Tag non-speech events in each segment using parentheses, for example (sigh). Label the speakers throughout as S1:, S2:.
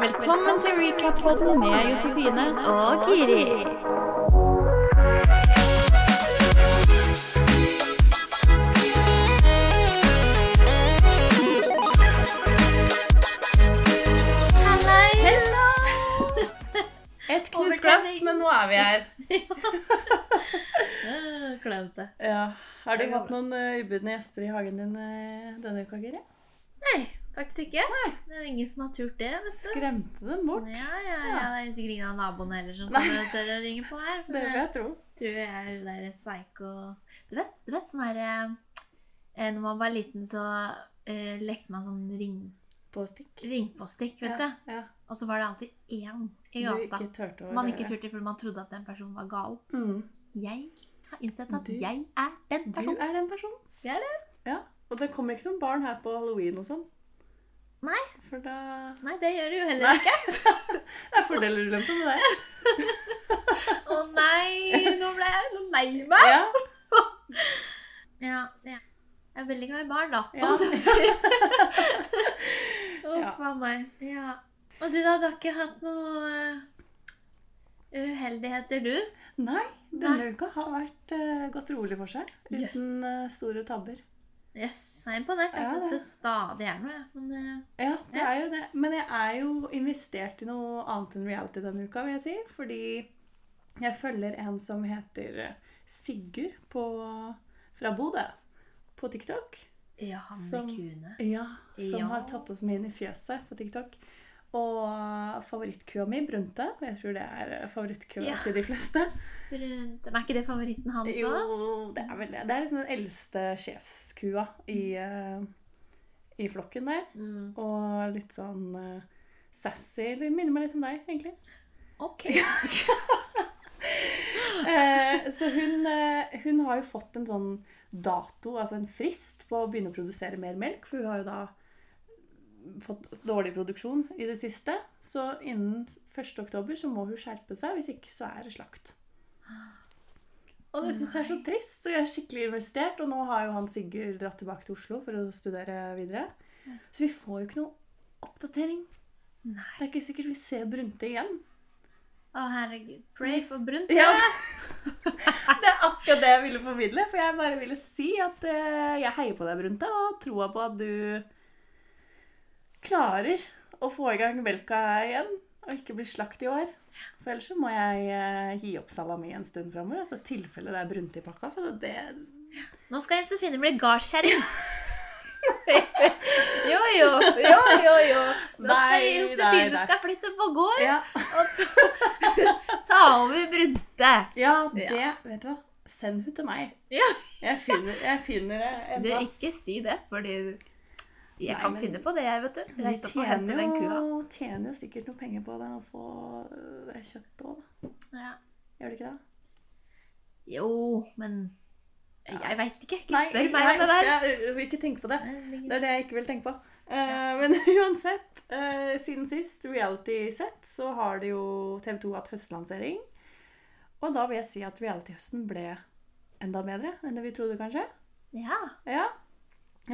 S1: Velkommen til Recap-podden med Josefine.
S2: og Giri.
S3: Et knust glass, men nå er vi her.
S2: Klønete.
S3: Ja. Har du
S2: Det går
S3: hatt noen eh, ubudne gjester i hagen din eh, denne uka, Giri?
S2: Nei, faktisk ikke.
S3: Nei.
S2: Det er ingen som har turt det. vet du.
S3: Skremte dem bort?
S2: Altså, Ja, ja, ja, Det er sikkert ingen av naboene heller som
S3: Nei.
S2: kommer og tør å ringe på her.
S3: Det vil jeg tro.
S2: tror jeg er hun der sveik og Du vet, du vet sånn her eh, Når man var liten, så eh, lekte man sånn ring,
S3: På stikk.
S2: ringpostikk, vet
S3: ja,
S2: du.
S3: ja.
S2: Og så var det alltid én i
S3: Du
S2: gata
S3: ikke turte å
S2: som man ikke
S3: røre.
S2: turte fordi man trodde at den personen var gal.
S3: Mm.
S2: Jeg har innsett at
S3: Du-
S2: jeg er den
S3: Du (laughs)
S2: personen.
S3: er den personen.
S2: Jeg er
S3: det. Ja. Og det kommer ikke noen barn her på halloween og sånn.
S2: Nei.
S3: For da
S2: Nei, det gjør du jo heller
S3: Nei.
S2: ikke.
S3: Det er fordeler ulemper med det.
S2: Å nei, nå ble jeg noe lei meg.
S3: Ja.
S2: Ja, ja. Jeg er veldig glad i barn, da.
S3: Ja.
S2: Å, det- Å,
S3: Ja.
S2: faen meg. Ja. Og du, da? Du har ikke hatt noe eh, uheldigheter, du?
S3: Nei, denne uka har vært eh, gått rolig for seg. Uten
S2: Yes.
S3: eh, store tabber.
S2: Jøss, jeg er imponert. Jeg
S3: Ja,
S2: syns
S3: ja.
S2: det stadig er noe, jeg. Men eh,
S3: Ja, det
S2: Ja.
S3: er jo det. Men jeg er jo investert i noe annet enn reality denne uka, vil jeg si. Fordi jeg følger en som heter eh, Sigurd på, fra Bodø på TikTok.
S2: eh, ja, han
S3: Som-
S2: med kuene.
S3: Ja, som
S2: Ja.
S3: har tatt oss med inn i fjøset på TikTok. Og favorittkua mi, Brunte. og Jeg tror det er favorittkua
S2: Ja. Altså?
S3: til de fleste.
S2: Brunt. Men er ikke det favoritten hans
S3: Jo,
S2: òg?
S3: det er vel det. Det er liksom den eldste sjefskua i, eh, i flokken der.
S2: Mm.
S3: Og litt sånn eh, sassy. Det minner meg litt om deg, egentlig.
S2: OK.
S3: Eh, så hun, eh, hun har jo fått en sånn dato, altså en frist, på å begynne å produsere mer melk. For hun har jo da fått dårlig produksjon i det siste. Så innen 1. oktober så må hun skjerpe seg, hvis ikke så er det slakt. Og det syns jeg er så trist, og jeg er skikkelig investert. Og nå har jo han Sigurd dratt tilbake til Oslo for å studere videre. Så vi får jo ikke noe oppdatering.
S2: Nei.
S3: Det er ikke sikkert vi ser Brunte igjen.
S2: Å, herregud. Pray for Brunt.
S3: Ja. (laughs) Det er akkurat det jeg ville formidle. For jeg bare ville si at eh, jeg heier på deg, Brunte, og har troa på at du klarer å få i gang melka igjen, og ikke bli slakt i år. For ellers så må jeg eh, gi opp salami en stund framover. Altså tilfelle det er Brunte i pakka. For det,
S2: Nå skal Josefine bli
S3: (laughs)
S2: gardskjerring. jo, jo, jo, jo, jo. Nå skal
S3: Nei, nei,
S2: Josefine
S3: nei.
S2: skal flytte på gård
S3: ja,
S2: og ta, (laughs) ta over Brunte.
S3: ja, det Vet du hva? Send hun til meg.
S2: Ja.
S3: Jeg finner, jeg finner en
S2: Du,
S3: plass.
S2: ikke si det, fordi jeg
S3: Nei,
S2: kan
S3: men-
S2: finne på det, jeg, vet du.
S3: De
S2: Reise opp og hente
S3: tjener
S2: den kua.
S3: jo, tjener jo sikkert noe penger på det å få øh, det kjøttet òg, da.
S2: Ja.
S3: Gjør de ikke det?
S2: Jo, men Jeg veit ikke. Ikke
S3: Nei,
S2: spør meg om det
S3: nei,
S2: der.
S3: Jeg jeg vil ikke tenke på det. Det
S2: Nei,
S3: er det jeg ikke vil tenke på. Eh, Men (laughs) uansett, eh, siden sist reality sett, så har det jo TV 2 hatt høstlansering. Og da vil jeg si at reality-høsten ble enda bedre enn det vi trodde, kanskje.
S2: Ja.
S3: Ja.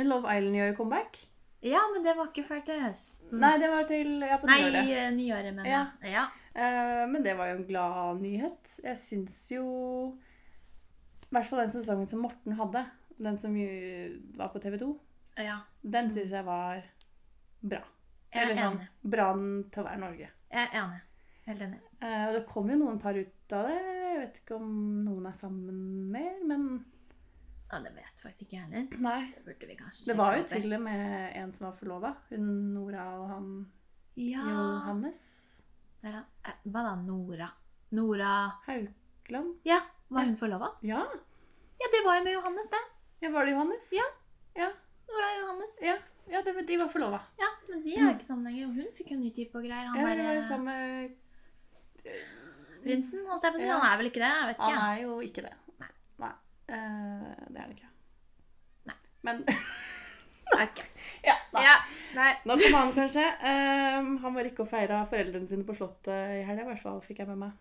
S3: Love Island gjør jo comeback.
S2: ja, men det var ikke før til høsten.
S3: Nei, det var til ja, på
S2: Mm. Nei,
S3: nyåret.
S2: eh, nyåret, mener
S3: Ja.
S2: jeg. Ja.
S3: Eh, Men det var jo en glad nyhet. Jeg syns jo I hvert fall den sesongen som Morten hadde, den som jo var på TV 2,
S2: ja.
S3: den syns jeg var bra.
S2: Mm. Jeg
S3: Eller
S2: er
S3: sånn
S2: enig.
S3: Brann til å være Norge.
S2: Jeg er enig. Helt enig.
S3: Eh, og det kom jo noen par ut av det. Jeg vet ikke om noen er sammen mer, men
S2: Ja, det vet faktisk ikke jeg heller.
S3: Nei.
S2: Det burde vi kanskje
S3: Det var jo
S2: sjekke opp i.
S3: til og med en som var forlova. Hun Nora og han
S2: ja.
S3: Johannes
S2: ja. Eh, Hva da? Nora? Nora
S3: Haukland.
S2: Ja, var hun forlova?
S3: Ja,
S2: Ja, det var jo med Johannes, det.
S3: ja var det Johannes?
S2: Ja.
S3: Ja,
S2: Nora og Johannes.
S3: ja, ja det, de var forlova.
S2: Ja, men de er jo ikke sammen lenger. Hun fikk jo ny type og greier. Han
S3: Ja, de var jo
S2: der eh,
S3: sammen med
S2: prinsen, holdt jeg på å si.
S3: Ja.
S2: Han er vel ikke det? Jeg vet
S3: Han
S2: ikke.
S3: er jo ikke det.
S2: Nei.
S3: Nei. Eh, det er han ikke.
S2: Nei.
S3: Men (laughs)
S2: Ok.
S3: Ja, da.
S2: Ja, nei.
S3: Nå kom han, kanskje. Ehm, han var ikke og feira foreldrene sine på Slottet i helga, i hvert fall, fikk jeg med meg.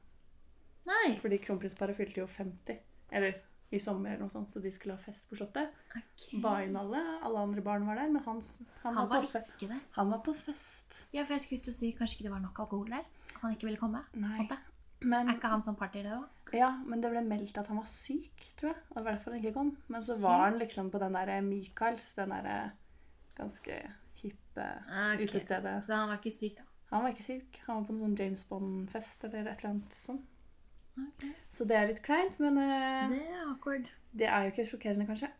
S2: nei.
S3: Fordi kronprinsparet fylte jo 50. Eller i sommer, eller noe sånt, så de skulle ha fest på Slottet.
S2: Ok.
S3: Ba inn alle. Alle andre barn var der, men hans, han,
S2: Han
S3: var
S2: var
S3: på fe
S2: ikke der.
S3: han var på fest.
S2: Ja, for jeg skulle ut og si kanskje ikke det var nok alkohol der. At han ikke ville komme. på en
S3: Nei.
S2: måte. Er
S3: Men,
S2: ikke han sånn party, det òg?
S3: ja, men det ble meldt at han var syk, tror jeg. Og det var derfor han ikke kom. Men så
S2: Syk?
S3: var han liksom på den derre Michaels, den derre ganske hippe
S2: Ah, Ok.
S3: utestedet.
S2: Så han var ikke syk, da.
S3: Han var ikke syk. Han var på en sånn James Bond-fest eller et eller annet sånn.
S2: Ok.
S3: Så det er litt kleint, men eh,
S2: Det er awkward.
S3: det er jo ikke sjokkerende, kanskje.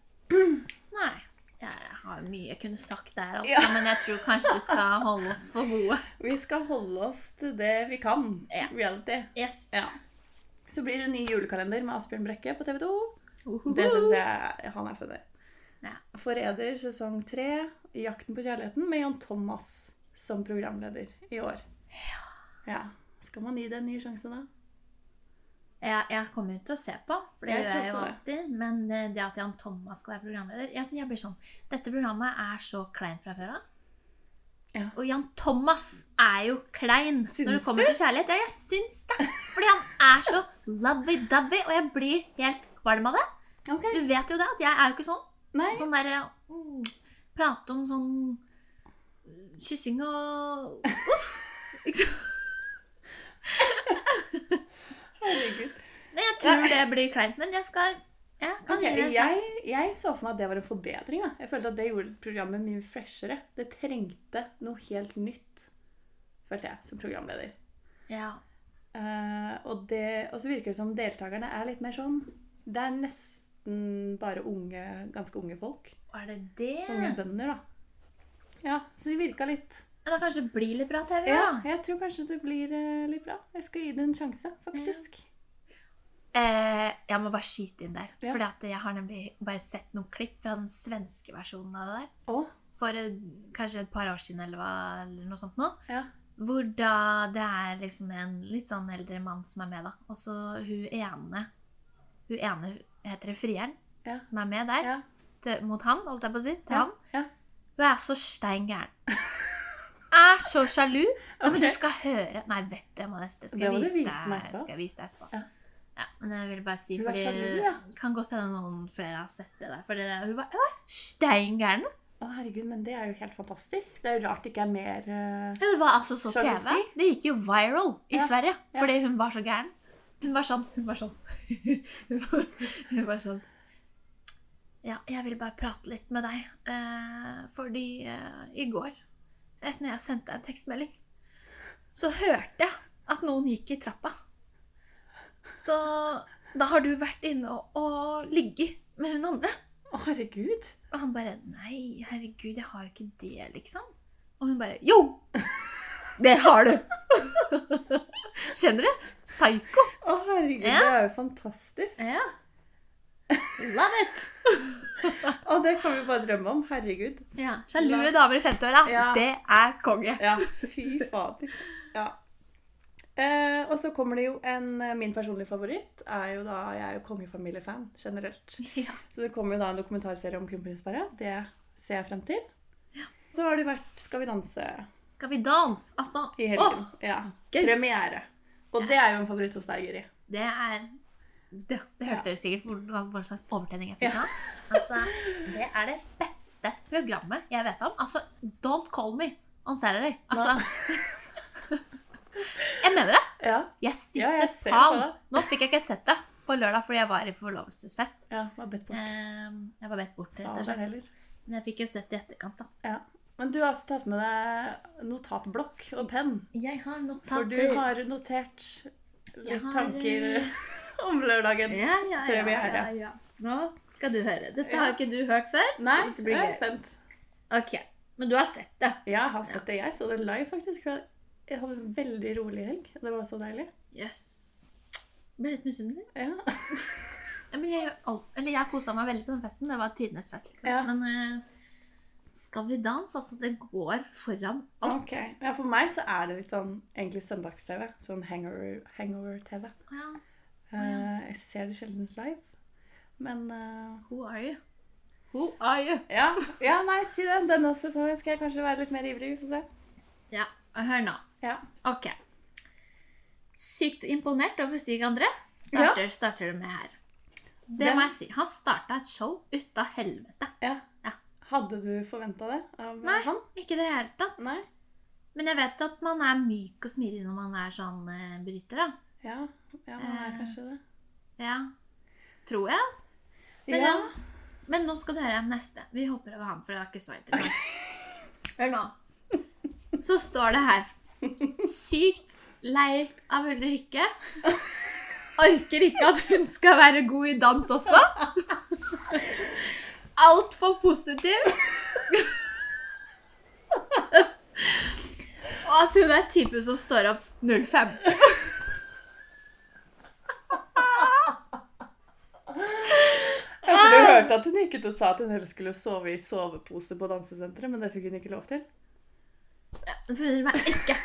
S2: Nei. Jeg har mye jeg kunne sagt der, altså,
S3: Ja.
S2: men jeg tror kanskje vi skal holde oss for gode.
S3: Vi skal holde oss til det vi kan.
S2: Ja.
S3: Reality.
S2: Yes.
S3: Ja. Så blir det en ny julekalender med Asbjørn Brekke på TV 2.
S2: Uhuhu.
S3: Det syns jeg han er funny.
S2: Ja.
S3: Forræder sesong tre, Jakten på kjærligheten, med Jan Thomas som programleder i år. Ja. Skal man gi det en ny sjanse, da?
S2: Jeg, jeg kommer jo til å se på, for det
S3: Jeg
S2: gjør
S3: tror
S2: jeg jo
S3: også
S2: alltid. Men eh, det at Jan Thomas skal være programleder jeg, jeg blir sånn, Dette programmet er så kleint fra før av.
S3: Ja.
S2: Og Jan Thomas er jo klein når det
S3: Syns
S2: kommer
S3: du?
S2: til kjærlighet. Ja, jeg syns det! Fordi han er så lovey-dovey, og jeg blir helt kvalm av det.
S3: Ok.
S2: Du vet jo det, at jeg er jo ikke sånn.
S3: Nei.
S2: Sånn derre mm, Prate om sånn eh, kyssing og Uff! Ikke sant?
S3: Herregud.
S2: Nei, jeg tror det blir kleint, men jeg skal Jeg kan
S3: Ok,
S2: gi det en
S3: jeg,
S2: sjanse.
S3: jeg så for meg at det var en forbedring. Da. Jeg følte at det gjorde programmet mye freshere. Det trengte noe helt nytt, følte jeg, som programleder.
S2: Ja.
S3: Eh, og, det, og så virker det som deltakerne er litt mer sånn Det er nesten bare unge, ganske unge folk.
S2: Er det det?
S3: Unge
S2: Men
S3: bønder, da. Ja, så det virka litt
S2: da kanskje det blir litt bra TV,
S3: Ja,
S2: da.
S3: jeg tror kanskje det blir eh, litt bra. Jeg skal gi det en sjanse, faktisk.
S2: Eh, jeg må bare skyte inn der.
S3: Ja.
S2: Fordi at jeg har nemlig bare sett noen klipp fra den svenske versjonen av det der.
S3: Å,
S2: For eh, kanskje et par år siden eller, hva, eller noe sånt nå.
S3: ja.
S2: Hvor da det er liksom en litt sånn eldre mann som er med, da. Og så hun ene Hun ene heter det frieren,
S3: Ja.
S2: som er med der.
S3: Ja.
S2: Til, mot han, holdt jeg på å si. Til
S3: Ja.
S2: han.
S3: ja.
S2: Hun er så stein
S3: (laughs)
S2: gæren. Er så sjalu. Ja, men
S3: Ok.
S2: du skal høre Nei, vet du, jeg må nesten skal,
S3: Det må
S2: jeg
S3: du
S2: vise
S3: vise meg
S2: deg-
S3: etterpå.
S2: skal jeg vise deg etterpå.
S3: Ja.
S2: Ja, men jeg vil bare si,
S3: Hun er
S2: fordi
S3: sjalu, ja.
S2: kan godt hende noen flere har sett det der. For det der hun var, hun var stein gæren.
S3: Å, herregud, men det er jo helt fantastisk. Det er jo rart det ikke er mer eh,
S2: Ja, det var altså så
S3: Skal du
S2: TV.
S3: si?
S2: Det gikk jo viral i
S3: Ja,
S2: Sverige
S3: ja.
S2: fordi hun var så gæren. Hun var sånn. Hun var sånn. (laughs) hun, var, hun var sånn Ja, jeg vil bare prate litt med deg. Eh, fordi eh, i går, etter når jeg sendte deg en tekstmelding, så hørte jeg at noen gikk i trappa. Så da har du vært inne og, og ligget med hun andre.
S3: Å, herregud.
S2: Og han bare Nei, herregud, jeg har jo ikke det, liksom. Og hun bare Jo! Det har du! Kjenner du? Psycho.
S3: Å, herregud,
S2: Ja.
S3: det er jo fantastisk.
S2: Ja. Love it!
S3: Å, det kan vi bare drømme om. Herregud.
S2: Ja, Sjalue damer i 50-åra.
S3: Ja.
S2: Det er konge.
S3: Ja, fy fader. Ja. Eh, og så kommer det jo en eh, Min personlige favoritt er jo da Jeg er jo kongefamiliefan generelt.
S2: Ja.
S3: Så det kommer jo da en dokumentarserie om kronprinsparet. Det ser jeg frem til. Så har det vært Skal vi danse
S2: Skal vi danse? Altså
S3: i helgen.
S2: åh,
S3: ja.
S2: gøy.
S3: Premiere. Og det er jo en favoritt hos deg, Guri.
S2: Det er Det, det hørte
S3: Ja.
S2: dere sikkert hvor, hva hva slags overtenning jeg fikk
S3: Ja.
S2: av. Altså, det er det beste programmet jeg vet om. Altså, don't call me on Saturday. Altså (laughs) Jeg mener det.
S3: (laughs) Ja.
S2: Jeg sitter
S3: jeg ser
S2: pal.
S3: på det.
S2: Nå fikk jeg ikke sett det på lørdag fordi jeg var i forlovelsesfest.
S3: ja var bedt bort.
S2: Ehm, Jeg var bedt bort, rett og
S3: Fader
S2: slett.
S3: heller.
S2: Men jeg fikk jo sett det i etterkant, da.
S3: Ja. Men du har også tatt med deg notatblokk og penn.
S2: Jeg har
S3: For du
S2: notater.
S3: har notert litt
S2: har,
S3: tanker
S2: eh,
S3: (laughs) om lørdagen.
S2: Ja, ja, ja,
S3: Prøver jeg her,
S2: ja,
S3: ja.
S2: ja. Nå skal du høre. Dette
S3: Ja.
S2: har jo ikke du hørt før.
S3: Nei,
S2: Det blir
S3: jeg er
S2: gøy.
S3: spent.
S2: Ok, Men du har sett det.
S3: Jeg har sett det, jeg. Så det live, faktisk. for Jeg hadde en veldig rolig helg. og Det var så deilig.
S2: Jøss. Jeg Ble litt misunnelig.
S3: Ja.
S2: Ja, men jeg, gjør alt, eller jeg kosa meg veldig på den festen. Det var tidenes fest, liksom.
S3: Ja.
S2: Men eh, Skal vi danse? Altså, det går foran alt.
S3: Ok. Ja, for meg så er det litt sånn egentlig søndags-TV. Sånn hangover- hangover-TV.
S2: Ja.
S3: Eh, jeg ser det sjelden live. Men eh,
S2: Who are you? Who are you?
S3: ja. ja, nei, si det. Denne sesongen skal jeg kanskje være litt mer ivrig. Vi får se.
S2: Ja, og hør nå.
S3: Ja.
S2: Ok. Sykt imponert over Stig André. Starter, starter du med her. Det må jeg si. Han starta et show ut av helvete.
S3: Ja.
S2: Ja.
S3: Hadde du forventa det av eh,
S2: Nei.
S3: han?
S2: Ikke i det hele tatt.
S3: Nei.
S2: Men jeg vet at man er myk og smidig når man er sånn eh, bryter, da.
S3: Ja, ja man er
S2: Eh,
S3: kanskje det.
S2: Ja. Tror jeg. Men,
S3: ja.
S2: ja. Men nå skal du høre neste. Vi hopper over han, for det var ikke så interessant. Hør nå. Så står det her. Sykt lei av Ulrikke. Orker ikke at hun skal være god i dans også. Altfor positiv. Og at hun er typen som står opp 05.
S3: Ja, for du hørte at hun gikk ut og sa at hun heller skulle sove i sovepose på dansesenteret, men det fikk hun ikke lov til.
S2: Det forundrer meg
S3: (laughs)
S2: ikke.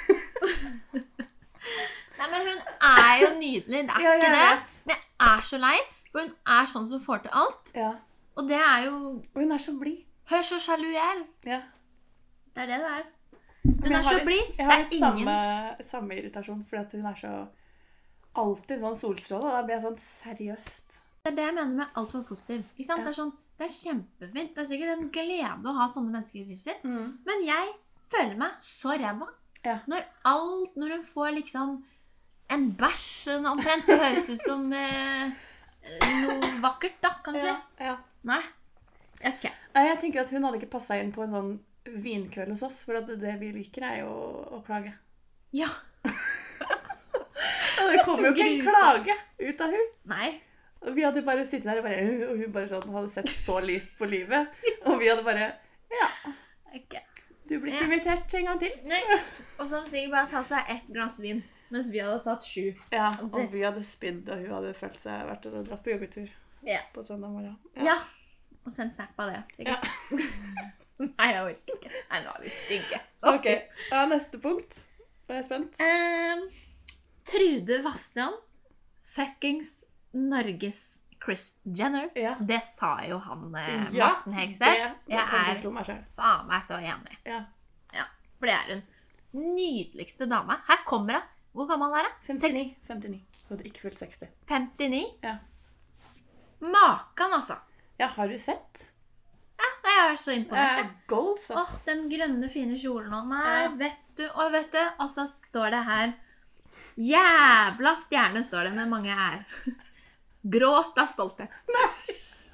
S2: Nei, men hun er jo nydelig. Det er
S3: Ja, jeg
S2: ikke det.
S3: vet.
S2: Men jeg er så lei, for hun er sånn som får til alt.
S3: Ja.
S2: Og det er jo
S3: Og hun er så blid.
S2: Hør så sjalu jeg er.
S3: Ja.
S2: Det er det det er.
S3: Men
S2: Hun
S3: jeg
S2: er
S3: har
S2: så
S3: litt-
S2: blid.
S3: Jeg
S2: Det
S3: har
S2: er
S3: litt
S2: ingen
S3: samme, samme irritasjon, fordi at hun er så Alltid sånn solstråle. og Da blir jeg sånn seriøst.
S2: Det er det jeg mener med altfor positiv. Ikke sant?
S3: Ja.
S2: Det er sånn, det er kjempefint. Det er sikkert en glede å ha sånne mennesker i livet sitt. Men jeg føler meg så ræva.
S3: Ja.
S2: Når alt Når hun får liksom en bæsj en omtrent Det høres ut som eh, noe vakkert, da, kan du
S3: Ja.
S2: si.
S3: ja.
S2: Nei. Ok.
S3: Nei, Jeg tenker at hun hadde ikke passa inn på en sånn vinkveld hos oss, for at det vi liker, er jo å klage.
S2: Ja.
S3: Og det kom jo ikke en
S2: grusomt.
S3: klage ut av hun.
S2: Nei.
S3: Og vi hadde bare sittet der og bare «Øh», Og hun bare sånn hadde sett så lyst på livet. Og vi hadde bare Ja,
S2: Ok.
S3: du blir
S2: Ja.
S3: ikke invitert en gang til.
S2: Nei. Og så hadde hun sikkert bare tatt seg ett glass vin, mens vi hadde tatt sju.
S3: Ja, Og vi hadde spydd, og hun hadde følt seg vært og dratt på joggetur
S2: Ja.
S3: på søndag morgen.
S2: Ja. Og sendt snap av det, sikkert. (laughs) Nei, jeg orker ikke. Nei, nå er vi stygge.
S3: (laughs) Ok, ja, Neste punkt. Nå er jeg spent.
S2: Ehm, Trude Vastrand. Fuckings Norges Chris Jenner.
S3: Ja.
S2: Det sa jo han eh,
S3: Ja,
S2: Morten Hegseth.
S3: Det- det
S2: Jeg
S3: kan du
S2: er
S3: slå meg selv.
S2: faen meg så enig.
S3: Ja.
S2: Ja, For det er hun. Nydeligste dame. Her kommer hun. Hvor gammel er hun?
S3: 59. 59. Hun hadde ikke fylt 60.
S2: 59.
S3: Ja.
S2: Makan, altså.
S3: Ja, har du sett?
S2: Nei, Jeg er så imponert. jeg.
S3: Eh, goals,
S2: Åh,
S3: ass.
S2: den grønne, fine kjolen og Nei,
S3: Ja.
S2: vet du. Og vet du, og så står det her Jævla stjerne, står det med mange her. (laughs) Gråt av
S3: (laughs)
S2: stolthet.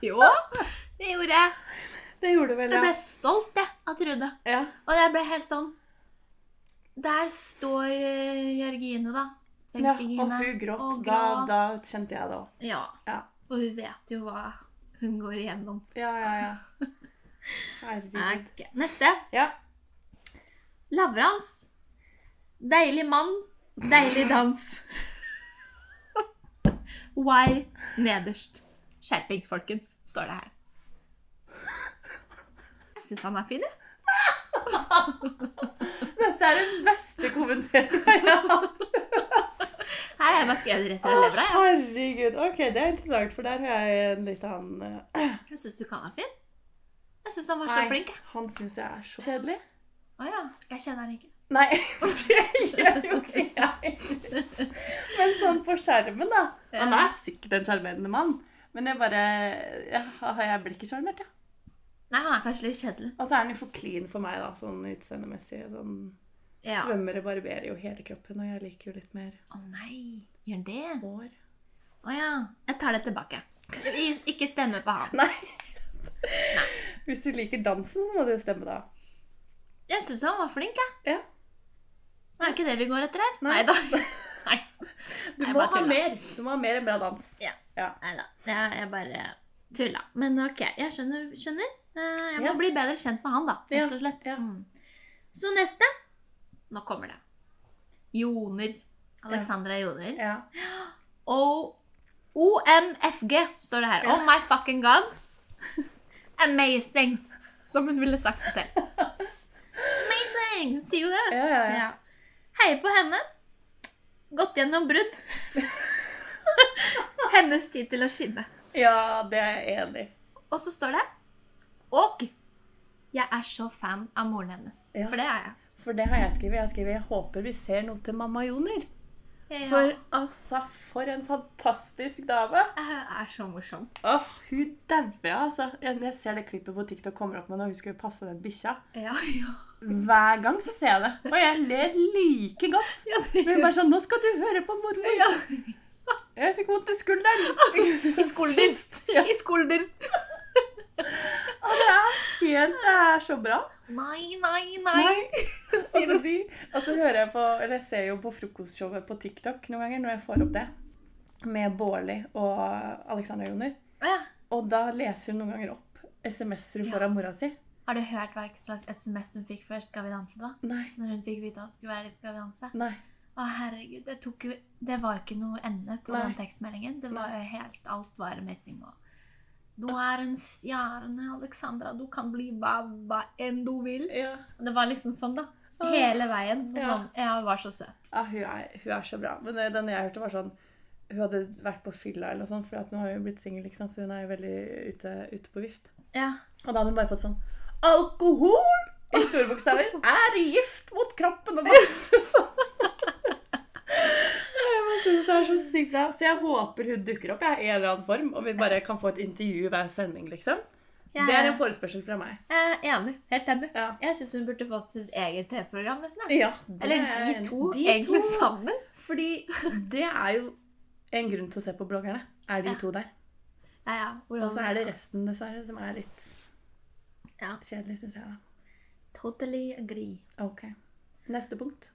S2: Jo, det gjorde jeg.
S3: Det gjorde du vel,
S2: Jeg ble
S3: ja.
S2: stolt, jeg, av Trude.
S3: ja.
S2: Og jeg ble helt sånn Der står eh, Jørgine, da.
S3: ja.
S2: Jørgine,
S3: Og hun gråt.
S2: og
S3: Da,
S2: gråt.
S3: da kjente jeg det òg.
S2: Ja.
S3: Ja.
S2: Og hun vet jo hva hun går igjennom.
S3: ja, ja, ja. Herregud.
S2: Ok, Neste.
S3: Ja.
S2: Lavrans. Deilig mann, deilig dans. Why nederst? Skjerpings, folkens, står det her. Jeg syns han er fin, jeg.
S3: Dette er den beste (laughs) kommenteringen jeg har hatt.
S2: Her har jeg bare skrevet rett fra levra. jeg.
S3: Herregud. Ok, det er interessant, for der har jeg en litt annen eh,
S2: Jeg syns du kan være fin. Jeg syns han var så
S3: Nei,
S2: flink. jeg.
S3: Han syns jeg er så kjedelig.
S2: Å ja. Jeg kjenner (laughs) han ikke.
S3: Nei, (laughs) det gjør jo ikke jeg. Men sånn på skjermen, da. Han er sikkert en sjarmerende mann, men jeg bare ja, har Jeg blir ikke sjarmert, jeg.
S2: Nei, han er kanskje litt kjedelig.
S3: Og så er han jo for clean for meg, da, sånn utseendemessig. Sånn,
S2: Ja. Å
S3: Svømmere barberer jo hele kroppen, og jeg liker jo litt mer
S2: nei, gjør han det?
S3: hår.
S2: Å ja. Jeg tar det tilbake. Ik- Ikke stemme på han.
S3: Nei. Hvis du liker dansen, så må det jo stemme, da.
S2: Jeg syns han var flink, jeg.
S3: Ja.
S2: Det er ikke det vi går etter her.
S3: Nei.
S2: Neida.
S3: (laughs)
S2: Nei
S3: Du
S2: Jeg
S3: må
S2: bare
S3: ha
S2: tuller.
S3: mer. Du må ha mer enn bra dans.
S2: Ja.
S3: Ja.
S2: Nei da. Jeg, jeg bare tulla. Men ok, jeg skjønner. skjønner. Eh, Jeg må
S3: Yes.
S2: bli bedre kjent med han, da.
S3: Ja,
S2: Rett og slett.
S3: ja.
S2: Mm. Så neste Nå kommer det. Joner. Alexandra Joner.
S3: ja.
S2: Og OMFG står det her.
S3: Ja.
S2: Oh my fucking god. Amazing. Som hun ville sagt det
S3: (laughs)
S2: selv. Amazing! Hun sier jo det.
S3: Ja, ja, ja.
S2: Ja. Heier på henne. Gått gjennom brudd. (laughs) Hennes tid til å skinne.
S3: ja, det er jeg enig i.
S2: Og så står det Og jeg er så fan av moren hennes.
S3: Ja.
S2: For det er jeg.
S3: For det har jeg skrevet. Jeg har skrevet 'Jeg håper vi ser noe til mamma Joner'.
S2: Ja,
S3: For altså, for en fantastisk dame!
S2: jeg er så morsom.
S3: Åh, hun dauer, altså. Jeg- Når jeg ser det klippet på TikTok kommer opp med når hun skulle passe den bikkja,
S2: Ja, (laughs) ja.
S3: hver gang så ser jeg det. Og jeg ler like godt.
S2: Ja, det
S3: Hun er bare sånn 'Nå skal du høre på mormor'.
S2: ja.
S3: Jeg fikk vondt i
S2: (laughs)
S3: skulderen.
S2: I skulder.
S3: Sist, Ja.
S2: I skulder.
S3: Og det er helt Det er så bra.
S2: Nei, nei, nei. (laughs)
S3: Altså, de, og så hører jeg på, eller jeg ser jo på frokostshowet på TikTok noen ganger når jeg får opp det, med Bårli og Alexandra Joner.
S2: Ja.
S3: Og da leser hun noen ganger opp SMS-er hun får av mora si.
S2: Har du hørt hva slags SMS hun fikk først Skal vi danse, da?
S3: Nei.
S2: Når hun fikk vite at hun skulle være i Skal vi danse?
S3: Nei.
S2: Å, herregud. Det, tok jo, det var jo ikke noe ende på
S3: Nei.
S2: den tekstmeldingen. Det var jo helt Alt var amazing. Og du er en stjerne, Alexandra. Du kan bli hva, hva enn du vil.
S3: Ja.
S2: Det var liksom sånn, da. Hele veien. Og
S3: Ja.
S2: sånn, ja, hun var så søt.
S3: ja Ah, hun, er, hun er så bra. Men eh, den jeg hørte, var sånn Hun hadde vært på fylla eller noe sånt, for at hun har jo blitt singel, ikke sant, så hun er jo veldig ute, ute på vift.
S2: Ja.
S3: Og da hadde hun bare fått sånn Alkohol i store bokstaver er gift mot kroppen og masse (laughs) sånn. Jeg bare synes det er Så sykt bra. Så jeg håper hun dukker opp jeg, i en eller annen form, og vi bare kan få et intervju hver sending. liksom.
S2: Jeg,
S3: Det er en forespørsel fra meg.
S2: jeg er enig. Helt enig.
S3: Ja.
S2: Jeg syns hun burde fått sitt eget TV-program. nesten. jeg.
S3: Ja, det
S2: Eller
S3: er
S2: de
S3: en-
S2: to,
S3: de
S2: egentlig
S3: to.
S2: sammen.
S3: Fordi det er jo en grunn til å se på bloggerne. Er de
S2: Ja.
S3: to der.
S2: Ja, ja. hvordan-
S3: Og så er det resten, dessverre, som er litt
S2: Ja.
S3: kjedelig, syns jeg. da.
S2: Totally agree.
S3: Ok. Neste punkt.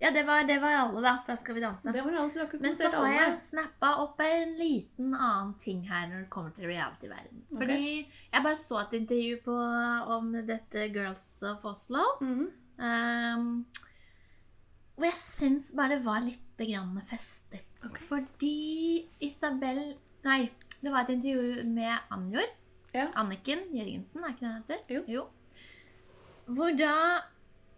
S2: Ja, det var, det var alle, da. Da skal vi danse.
S3: Det var alle, så du har ikke
S2: Men så
S3: kommentert
S2: har
S3: alle.
S2: jeg snappa opp en liten annen ting her når det kommer til reality-verden. Fordi jeg bare så et intervju på, om dette Girls of Oslo.
S3: Mhm.
S2: ehm, hvor jeg syns bare det var litt grann festlig.
S3: Ok.
S2: Fordi Isabel Nei, det var et intervju med Anjor.
S3: Ja.
S2: Anniken Jørgensen, er ikke det hun heter?
S3: Jo.
S2: Hvor da,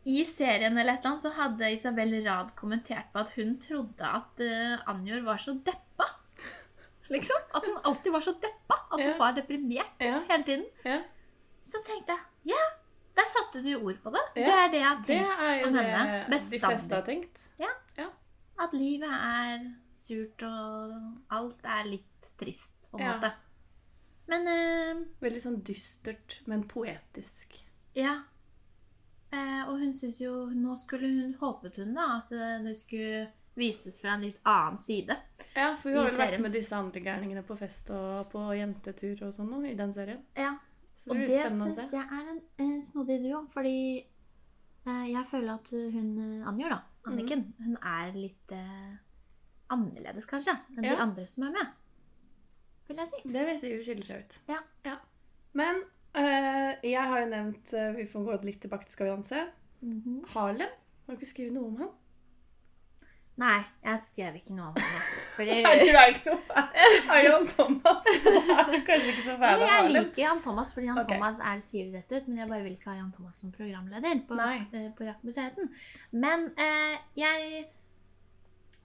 S2: i serien eller et eller annet, så hadde Isabel Rad kommentert på at hun trodde at eh, Anjor var så
S3: (laughs)
S2: deppa. Liksom. At hun alltid var så deppa. At hun
S3: Ja.
S2: var deprimert
S3: Ja,
S2: hele tiden.
S3: ja.
S2: Så tenkte jeg ja, der satte du ord på det.
S3: Ja,
S2: Det er det jeg har
S3: Det
S2: tenkt
S3: er jo
S2: om
S3: det
S2: henne
S3: de fleste
S2: bestandig.
S3: har tenkt.
S2: At livet er surt, og alt er litt trist, på en
S3: Ja.
S2: måte. Men eh,
S3: Veldig sånn dystert, men poetisk.
S2: Ja. Eh, og hun synes jo Nå skulle hun håpet hun da at eh, det skulle vises fra en litt annen side.
S3: Ja, for hun
S2: I
S3: har vel vært
S2: serien.
S3: med disse andre gærningene på fest og på jentetur og sånn nå, i den serien.
S2: Ja,
S3: Så det
S2: Og
S3: blir
S2: det
S3: spennende å
S2: syns
S3: se.
S2: jeg er en, eh, snodig duo, fordi eh, jeg føler at hun eh, Anjor, da,
S3: Mm.
S2: Anniken, hun er litt eh, annerledes kanskje enn
S3: Ja.
S2: de andre som er med, vil jeg si.
S3: Det vil jeg si hun skiller seg ut.
S2: Ja.
S3: Men eh, jeg har jo nevnt eh, Vi får gå litt tilbake til Skal vi danse. Mhm. Harlem. Har du ikke skrevet noe om han?
S2: Nei, jeg skrev ikke noe om henne. Fordi
S3: (laughs) Nei, du er ikke noe fan av Jan
S2: (laughs)
S3: Thomas. Du er kanskje ikke så
S2: Nei,
S3: fan av
S2: jeg
S3: Harlem.
S2: liker Jan Thomas fordi Jan
S3: Ok.
S2: Thomas er sier det rett ut, men jeg bare vil ikke ha Jan Thomas som programleder på,
S3: Nei.
S2: eh, på Jakt med kjærligheten. Men eh, jeg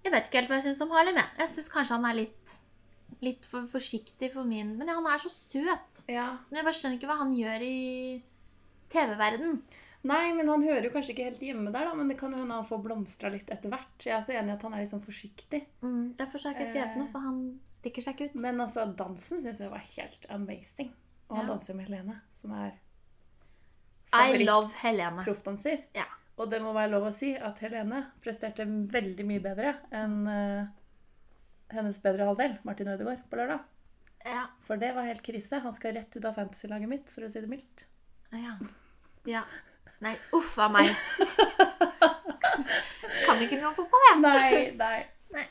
S2: Jeg vet ikke helt hva jeg syns om Harlem. Jeg, jeg syns kanskje han er litt, litt for forsiktig for min Men han er så søt.
S3: Ja.
S2: Men jeg bare skjønner ikke hva han gjør i TV-verden.
S3: Nei, men han hører jo kanskje ikke helt hjemme der, da, men det kan jo hende han får blomstra litt etter hvert. Jeg er så enig i at han er litt sånn forsiktig.
S2: Mm, derfor så har jeg ikke skrevet
S3: Eh.
S2: noe, for han stikker seg ikke ut.
S3: Men altså, dansen syns jeg var helt amazing. Og han
S2: Ja.
S3: danser med Helene, som er
S2: I love Helene.
S3: favorittproffdanser.
S2: Ja.
S3: Og det må være lov å si at Helene presterte veldig mye bedre enn eh, hennes bedre halvdel, Martin Ødegaard, på lørdag.
S2: Ja,
S3: For det var helt krise. Han skal rett ut av fantasy-laget mitt, for å si det mildt.
S2: Ja. ja. Nei, uff a
S3: (laughs)
S2: meg. kan ikke engang fotball, jeg.
S3: Nei, nei.
S2: Nei,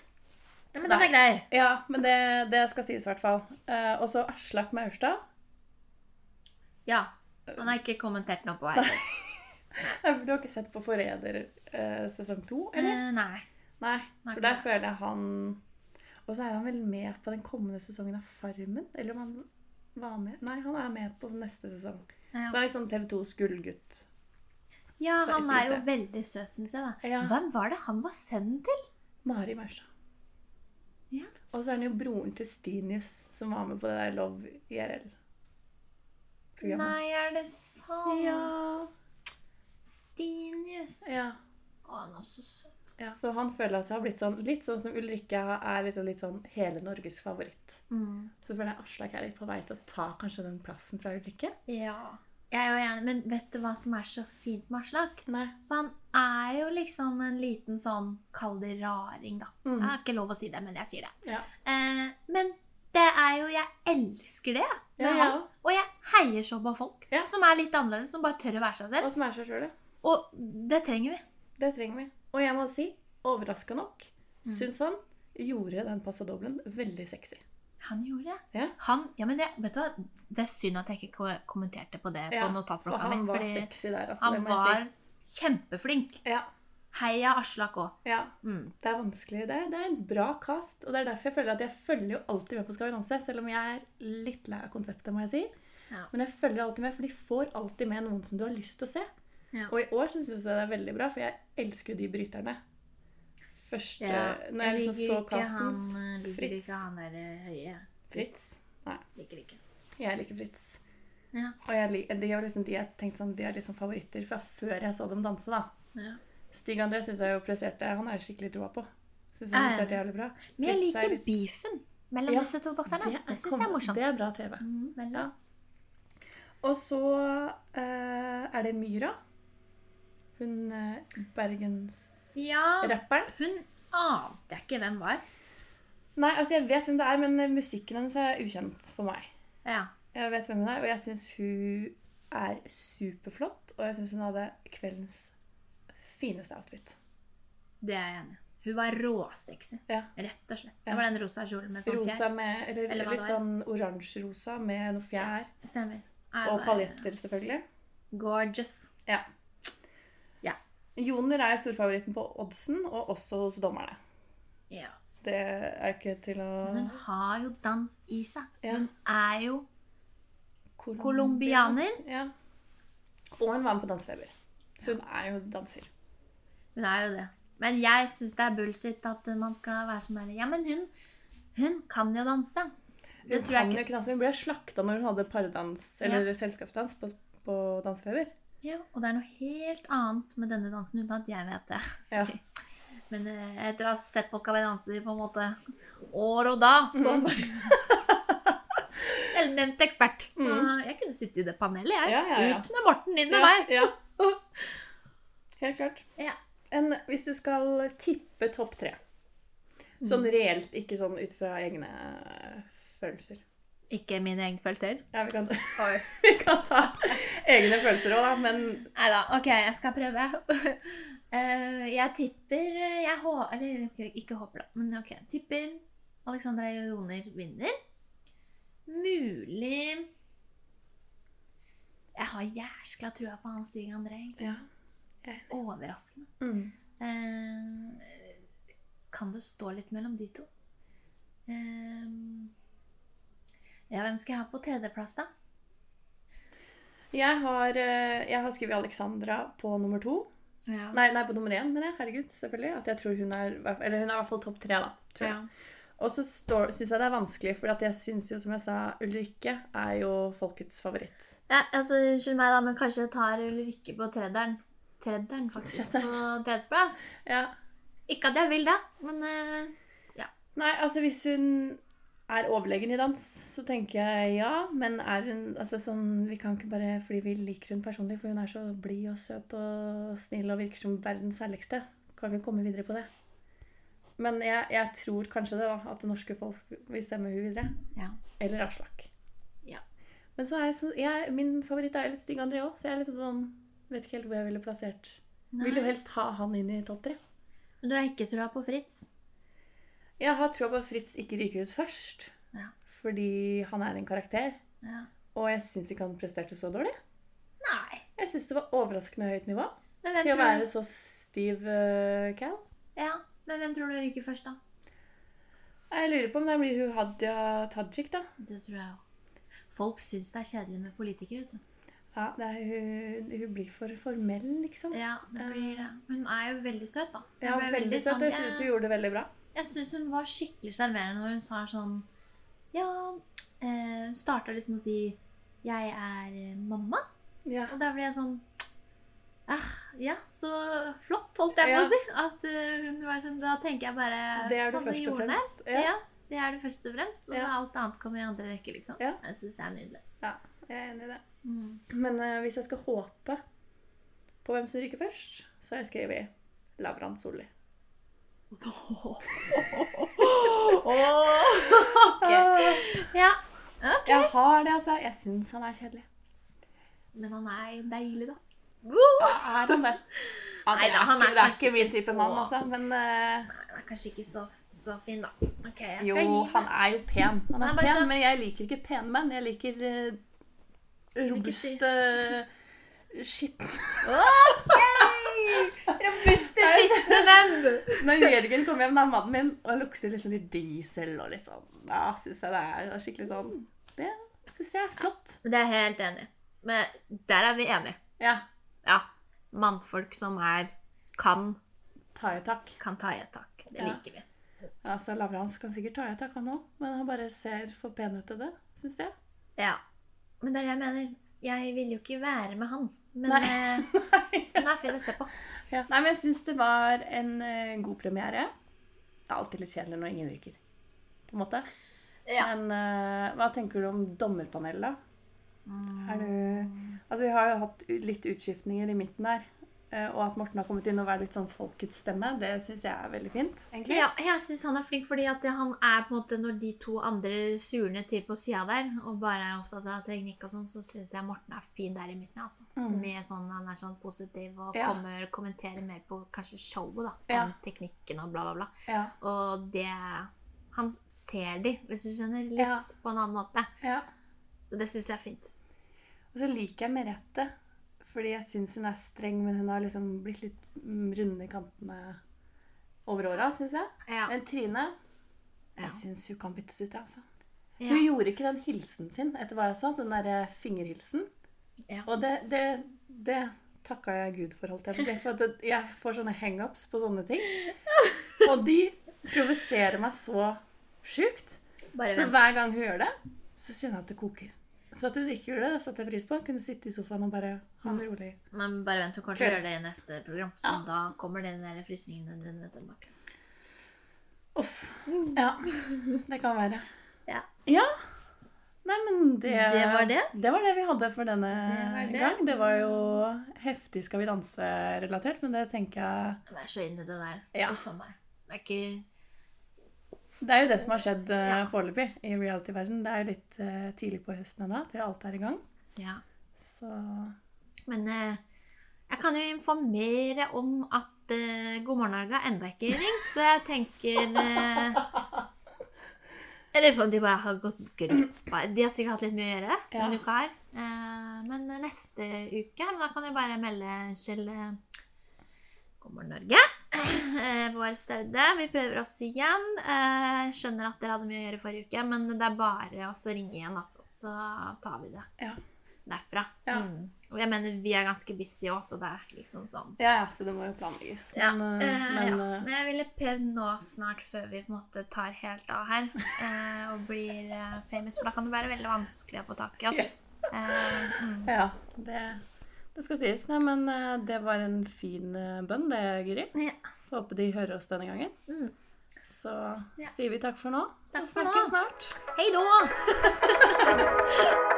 S2: men den er grei.
S3: Ja, men det, det skal sies i hvert fall. Eh, og så Aslak Maurstad.
S2: Ja. Han har ikke kommentert noe på her.
S3: Nei, for Du har ikke sett på Forræder eh, sesong to, eller?
S2: Eh, Nei.
S3: Nei,
S2: Nei,
S3: for
S2: ikke
S3: der
S2: det.
S3: føler jeg han Og så er han vel med på den kommende sesongen av Farmen? Eller om han var med Nei, han er med på neste sesong.
S2: Ja.
S3: Så han er liksom TV2s gullgutt.
S2: Ja,
S3: Så jeg
S2: han
S3: synes
S2: er jo
S3: det.
S2: veldig søt, syns jeg. da.
S3: Ja.
S2: Hvem var det han var sønnen til?
S3: Mari Maurstad.
S2: Ja.
S3: Og så er han jo broren til Stinius, som var med på det der Love IRL-programmet.
S2: Nei, er det sant?
S3: Ja.
S2: Stinius.
S3: ja.
S2: Å, han er så søt.
S3: Så han føler seg har blitt sånn, litt sånn som Ulrikke er liksom litt sånn hele Norges favoritt.
S2: Mm.
S3: Så føler jeg Aslak er litt på vei til å ta kanskje den plassen fra Ulrikke.
S2: Ja. Jeg er jo enig, men vet du hva som er så fint med Aslak?
S3: Nei.
S2: For han er jo liksom en liten sånn Kall det raring, da.
S3: Mm.
S2: Jeg har ikke lov å si det, men jeg sier det.
S3: Ja.
S2: Eh, men det er jo Jeg elsker det.
S3: Ja,
S2: med
S3: ja.
S2: han. Og jeg heier så på folk
S3: Ja.
S2: som er litt annerledes, som bare tør å være seg selv.
S3: Og som er seg sjøl, ja.
S2: Og det trenger vi.
S3: Det trenger vi. Og jeg må si, overraska nok,
S2: Mm.
S3: syns han gjorde den passadoblen veldig sexy.
S2: Han gjorde det.
S3: Ja.
S2: Han, ja, men det, vet du hva? det er synd at jeg ikke ko- kommenterte på det på
S3: Ja, for
S2: notatblokka mi.
S3: han var
S2: fordi
S3: sexy der, altså. det
S2: han
S3: må jeg
S2: var kjempeflink.
S3: si. Ja.
S2: Heia Aslak òg.
S3: ja.
S2: Mm.
S3: Det er vanskelig. Det er, det er en bra cast. Og det er derfor jeg føler at jeg følger jo alltid med på Skal vi danse, selv om jeg er litt lei av konseptet, må jeg si.
S2: Ja.
S3: Men jeg følger alltid med, for de får alltid med noen som du har lyst til å se.
S2: Ja.
S3: Og i år syns jeg det er veldig bra, for jeg elsker jo de bryterne. Første Eh, Når jeg liksom så casten.
S2: eh,
S3: liker Fritz. ikke han
S2: der eh, høye.
S3: Fritz. Nei,
S2: Liker ikke.
S3: jeg liker Fritz.
S2: Ja.
S3: Og jeg, lik- de, er liksom, de, jeg tenkte sånn, de er liksom favoritter fra før jeg så dem danse, da.
S2: Ja.
S3: Stig André syns jeg jo presterte Han har jeg skikkelig troa på. Synes
S2: Ja, ja.
S3: han presterte jævlig bra.
S2: Men jeg
S3: Fritz er
S2: liker
S3: litt-
S2: beefen mellom
S3: Ja,
S2: disse to bokserne. Det, synes syns jeg
S3: kom-
S2: er morsomt.
S3: Det er bra TV.
S2: Mm, mellom-
S3: Ja. Og så eh, er det Myra. Hun eh, bergensrapperen.
S2: ja, hun ante jeg ikke hvem var.
S3: Nei, altså jeg vet hvem det er, men eh, musikken hennes er ukjent for meg.
S2: Ja.
S3: Jeg vet hvem hun er, og jeg syns hun er superflott. Og jeg syns hun hadde kveldens fineste outfit.
S2: Det er jeg enig i. Hun var råsexy,
S3: Ja.
S2: rett og slett.
S3: Ja.
S2: Det var den rosa kjolen med sånn fjær.
S3: Rosa med, eller,
S2: Eller hva det var.
S3: litt sånn oransjerosa med noe fjær.
S2: Stemmer. Jeg
S3: Og
S2: var
S3: paljetter, selvfølgelig.
S2: Gorgeous.
S3: Ja.
S2: Ja.
S3: Joner er jo storfavoritten på oddsen, og også hos dommerne.
S2: Ja.
S3: Det er ikke til å
S2: Men Hun har jo dans i seg.
S3: Ja.
S2: Hun er jo
S3: Kolombians-
S2: Kolombianer.
S3: Ja. Og hun var med på Dansefeber. Så hun er jo danser.
S2: Hun er jo det. Men jeg syns det er bullshit at man skal være sånn der Ja, men hun, hun kan jo danse. Det
S3: Hun,
S2: tror jeg
S3: kan jo
S2: ikke.
S3: ikke danse. hun ble slakta når hun hadde pardans, eller selskapsdans på, på Dansefeber.
S2: Ja, og det er noe helt annet med denne dansen uten at jeg vet det.
S3: Ja.
S2: (laughs) Men eh, etter å ha sett på Skal vi danse på en måte år og da som
S3: Mm.
S2: (laughs) selvnevnt ekspert, så jeg kunne sitte i det panelet, jeg.
S3: Mm. Ja, ja, ja.
S2: Ut med Morten, inn med
S3: ja, (laughs)
S2: meg.
S3: Ja. Helt klart.
S2: Ja.
S3: En, hvis du skal tippe topp tre Sånn reelt, ikke sånn ut fra egne følelser.
S2: Ikke mine egne følelser.
S3: Ja, vi kan, (laughs) vi kan ta egne følelser òg, da, men
S2: Nei da. OK, jeg skal prøve. (laughs) Eh, jeg tipper eh, Jeg håper Eller ikke- ikke håper, da. Men OK. Tipper Alexandra Joner vinner. Mulig Jeg har jæskla trua på han Stig André. egentlig.
S3: ja.
S2: Overraskende.
S3: Mm.
S2: Eh, kan det stå litt mellom de to? Eh, ja, hvem skal jeg ha på tredjeplass, da?
S3: Jeg har, eh, jeg har skrevet Alexandra på nummer to.
S2: Ja.
S3: Nei, nei, på nummer én, mener jeg. Herregud, selvfølgelig. At jeg tror hun er, eller hun er i hvert fall topp tre, da. Tror jeg.
S2: Ja.
S3: Og så syns jeg det er vanskelig, for at jeg syns jo, som jeg sa, Ulrikke er jo folkets favoritt.
S2: Ja, altså, Unnskyld meg, da, men kanskje jeg tar Ulrikke på trederen. Trederen, faktisk. På tredjeplass.
S3: Ja.
S2: Ikke at jeg vil det, men eh,
S3: Nei, altså hvis hun er overlegen i dans, så tenker jeg ja. Men er hun altså sånn Vi kan ikke bare fordi vi liker hun personlig, for hun er så blid og søt og snill og virker som verdens herligste. Kan ikke komme videre på det. Men jeg, jeg tror kanskje det, da. At det norske folk vil stemme hun videre.
S2: ja.
S3: Eller Aslak.
S2: Ja.
S3: Men så er jeg så jeg, Min favoritt er litt Stig André òg, så jeg er liksom sånn Vet ikke helt hvor jeg ville plassert. Vil jo helst ha han inn i topp tre.
S2: Men du har ikke trua på Fritz?
S3: Jeg har troa på at Fritz ikke ryker ut først.
S2: Ja.
S3: Fordi han er en karakter.
S2: Ja.
S3: Og jeg syns ikke han presterte så dårlig.
S2: Nei.
S3: Jeg syns det var overraskende høyt nivå
S2: Men hvem,
S3: til å
S2: tror
S3: være
S2: du,
S3: så stiv eh, cal.
S2: ja. men hvem tror du ryker først, da?
S3: Jeg lurer på om det blir hun Hadia Tajik, da.
S2: Det tror jeg òg. Folk syns det er kjedelig med politikere, vet du.
S3: Ja, det er hun, hun blir for formell, liksom.
S2: Ja, det blir det. Men Hun er jo veldig søt, da. Jeg
S3: Ja,
S2: ble
S3: veldig søt. og Jeg
S2: sånn,
S3: syns hun gjorde det veldig bra.
S2: Jeg syns hun var skikkelig sjarmerende når hun sa sånn Ja, eh, hun starta liksom å si 'Jeg er mamma',
S3: Ja.
S2: og da ble jeg sånn ah, ja, så flott, holdt jeg på
S3: Ja.
S2: å si. At eh, hun var sånn, Da tenker jeg bare
S3: Det er det
S2: "Faen, så
S3: først og
S2: gjorde hun det."
S3: fremst.
S2: Ja.
S3: Ja,
S2: det er det først og fremst. Og så
S3: Ja.
S2: alt annet kommer i andre rekke, liksom.
S3: Ja.
S2: Jeg synes det er nydelig.
S3: jeg er enig i det. Men eh, hvis jeg skal håpe på hvem som ryker først, så har jeg skrevet Lavran Solli. Ah,
S2: Ja,
S3: Jeg har det, altså. Jeg syns han er kjedelig.
S2: Men han er deilig, da.
S3: Er han det? Ja, det,
S2: Nei da,
S3: er,
S2: han er
S3: ikke, det er
S2: kanskje
S3: ikke min
S2: ikke
S3: type
S2: så-
S3: mann, altså. Men eh,
S2: Nei, han er kanskje ikke så, så fin, da. Ok, jeg skal
S3: jo,
S2: gi meg.
S3: han er jo pen. Han
S2: Han
S3: er
S2: er bare
S3: pen,
S2: så-
S3: men jeg liker ikke pene menn. Jeg liker eh, robuste eh, Skitne
S2: (laughs) Robuste, skitne venn!
S3: Når Jørgen kommer hjem, da er mannen min, og han lukter liksom litt diesel og litt sånn Ja, syns jeg det er skikkelig sånn Det syns jeg er flott.
S2: Det er jeg helt enig i. Men der er vi enige.
S3: Ja.
S2: Ja. Mannfolk som er kan,
S3: Ta i tak.
S2: kan ta i et tak. Det
S3: Ja.
S2: liker vi.
S3: Altså, Lavrans kan sikkert ta i tak, han òg, men han bare ser for pen ut til det, syns jeg.
S2: Ja. Men det er det jeg mener. Jeg vil jo ikke være med han. Men
S3: (laughs) Nei.
S2: eh, han er fin å se på.
S3: Ja. Nei, men jeg syns det var en eh, god premiere. Det er alltid litt kjedelig når ingen ryker, på en måte.
S2: Ja.
S3: Men eh, hva tenker du om dommerpanelet, da? Er du Altså, vi har jo hatt u- litt utskiftninger i midten her. eh, Og at Morten har kommet inn og vært litt sånn folkets stemme, det syns jeg er veldig fint. egentlig.
S2: Ja, jeg syns han er flink, fordi at han er på en måte når de to andre surner til på sida der, og bare er opptatt av teknikk og sånn, så syns jeg Morten er fin der i midten. altså.
S3: Mm.
S2: Med sånn, Han er sånn positiv og
S3: Ja.
S2: kommer kommenterer mer på kanskje showet da,
S3: Ja.
S2: enn teknikken og bla, bla, bla.
S3: Ja.
S2: Og det Han ser de, hvis du skjønner, litt
S3: Ja.
S2: på en annen måte.
S3: ja.
S2: Så det syns jeg er fint.
S3: Og så liker jeg Merete, fordi jeg syns hun er streng, men hun har liksom blitt litt mm, runde i kantene over åra, syns jeg.
S2: Ja.
S3: Men Trine
S2: Ja.
S3: Jeg syns hun kan byttes ut, jeg, altså. Hun
S2: ja.
S3: gjorde ikke den hilsen sin, etter hva jeg så, den derre fingerhilsen.
S2: Ja.
S3: Og det, det, det takka jeg Gud for, holdt jeg på å si. For at det- jeg får sånne hangups på sånne ting. Og de provoserer meg så sjukt.
S2: Bare
S3: Så
S2: vent.
S3: hver gang hun gjør det, så kjenner jeg at det koker. Så at hun ikke gjorde det, det satte jeg pris på. Kunne sitte i sofaen og bare ha
S2: Mm.
S3: det rolig.
S2: Men bare vent, hun kommer til å
S3: Kul.
S2: gjøre det i neste program. Så
S3: Ja.
S2: da kommer den der frysningen dine tilbake.
S3: Uff. Ja. Det kan være.
S2: Mm. Ja.
S3: Ja. Nei, men det
S2: Det var det.
S3: Det var det vi hadde for denne
S2: Det var det.
S3: gang. Det var jo heftig Skal vi danse-relatert, men det tenker jeg
S2: Jeg er så inn i det der.
S3: Ja.
S2: Uff a meg. Det er ikke
S3: Det er jo det som har skjedd eh,
S2: Ja.
S3: foreløpig i reality-verden. Det er jo litt eh, tidlig på høsten ennå til alt er i gang.
S2: Ja.
S3: Så
S2: Men eh, jeg kan jo informere om at eh, God morgen Norge har enda ikke ringt, så jeg tenker eh, Jeg lurer på om de bare har gått glipp av De har sikkert hatt litt mye å gjøre
S3: Ja.
S2: denne uka her. Eh, men neste uke da kan jeg bare melde Kjell eh, God morgen, Norge. Eh, Vår staude. Vi prøver oss igjen. Eh, skjønner at dere hadde mye å gjøre forrige uke, men det er bare oss å ringe igjen, altså. Så tar vi det
S3: Ja.
S2: derfra.
S3: Ja.
S2: Mm. Og jeg mener, vi er ganske busy òg, så det er liksom sånn
S3: Ja, ja, så det må jo planlegges.
S2: ja.
S3: Men, eh,
S2: eh,
S3: men,
S2: ja.
S3: eh,
S2: men jeg ville prøvd nå snart, før vi på en måte tar helt av her eh, og blir eh, famous, for da kan det være veldig vanskelig å få tak i oss. Eh, mm.
S3: Ja, det, det skal sies. Nei, men eh, det var en fin eh, bønn, det, Guri.
S2: Ja.
S3: Får håpe de hører oss denne gangen.
S2: Mm.
S3: Så
S2: Ja.
S3: sier vi takk for nå.
S2: Takk
S3: og
S2: for nå.
S3: snakkes snart.
S2: Hei da!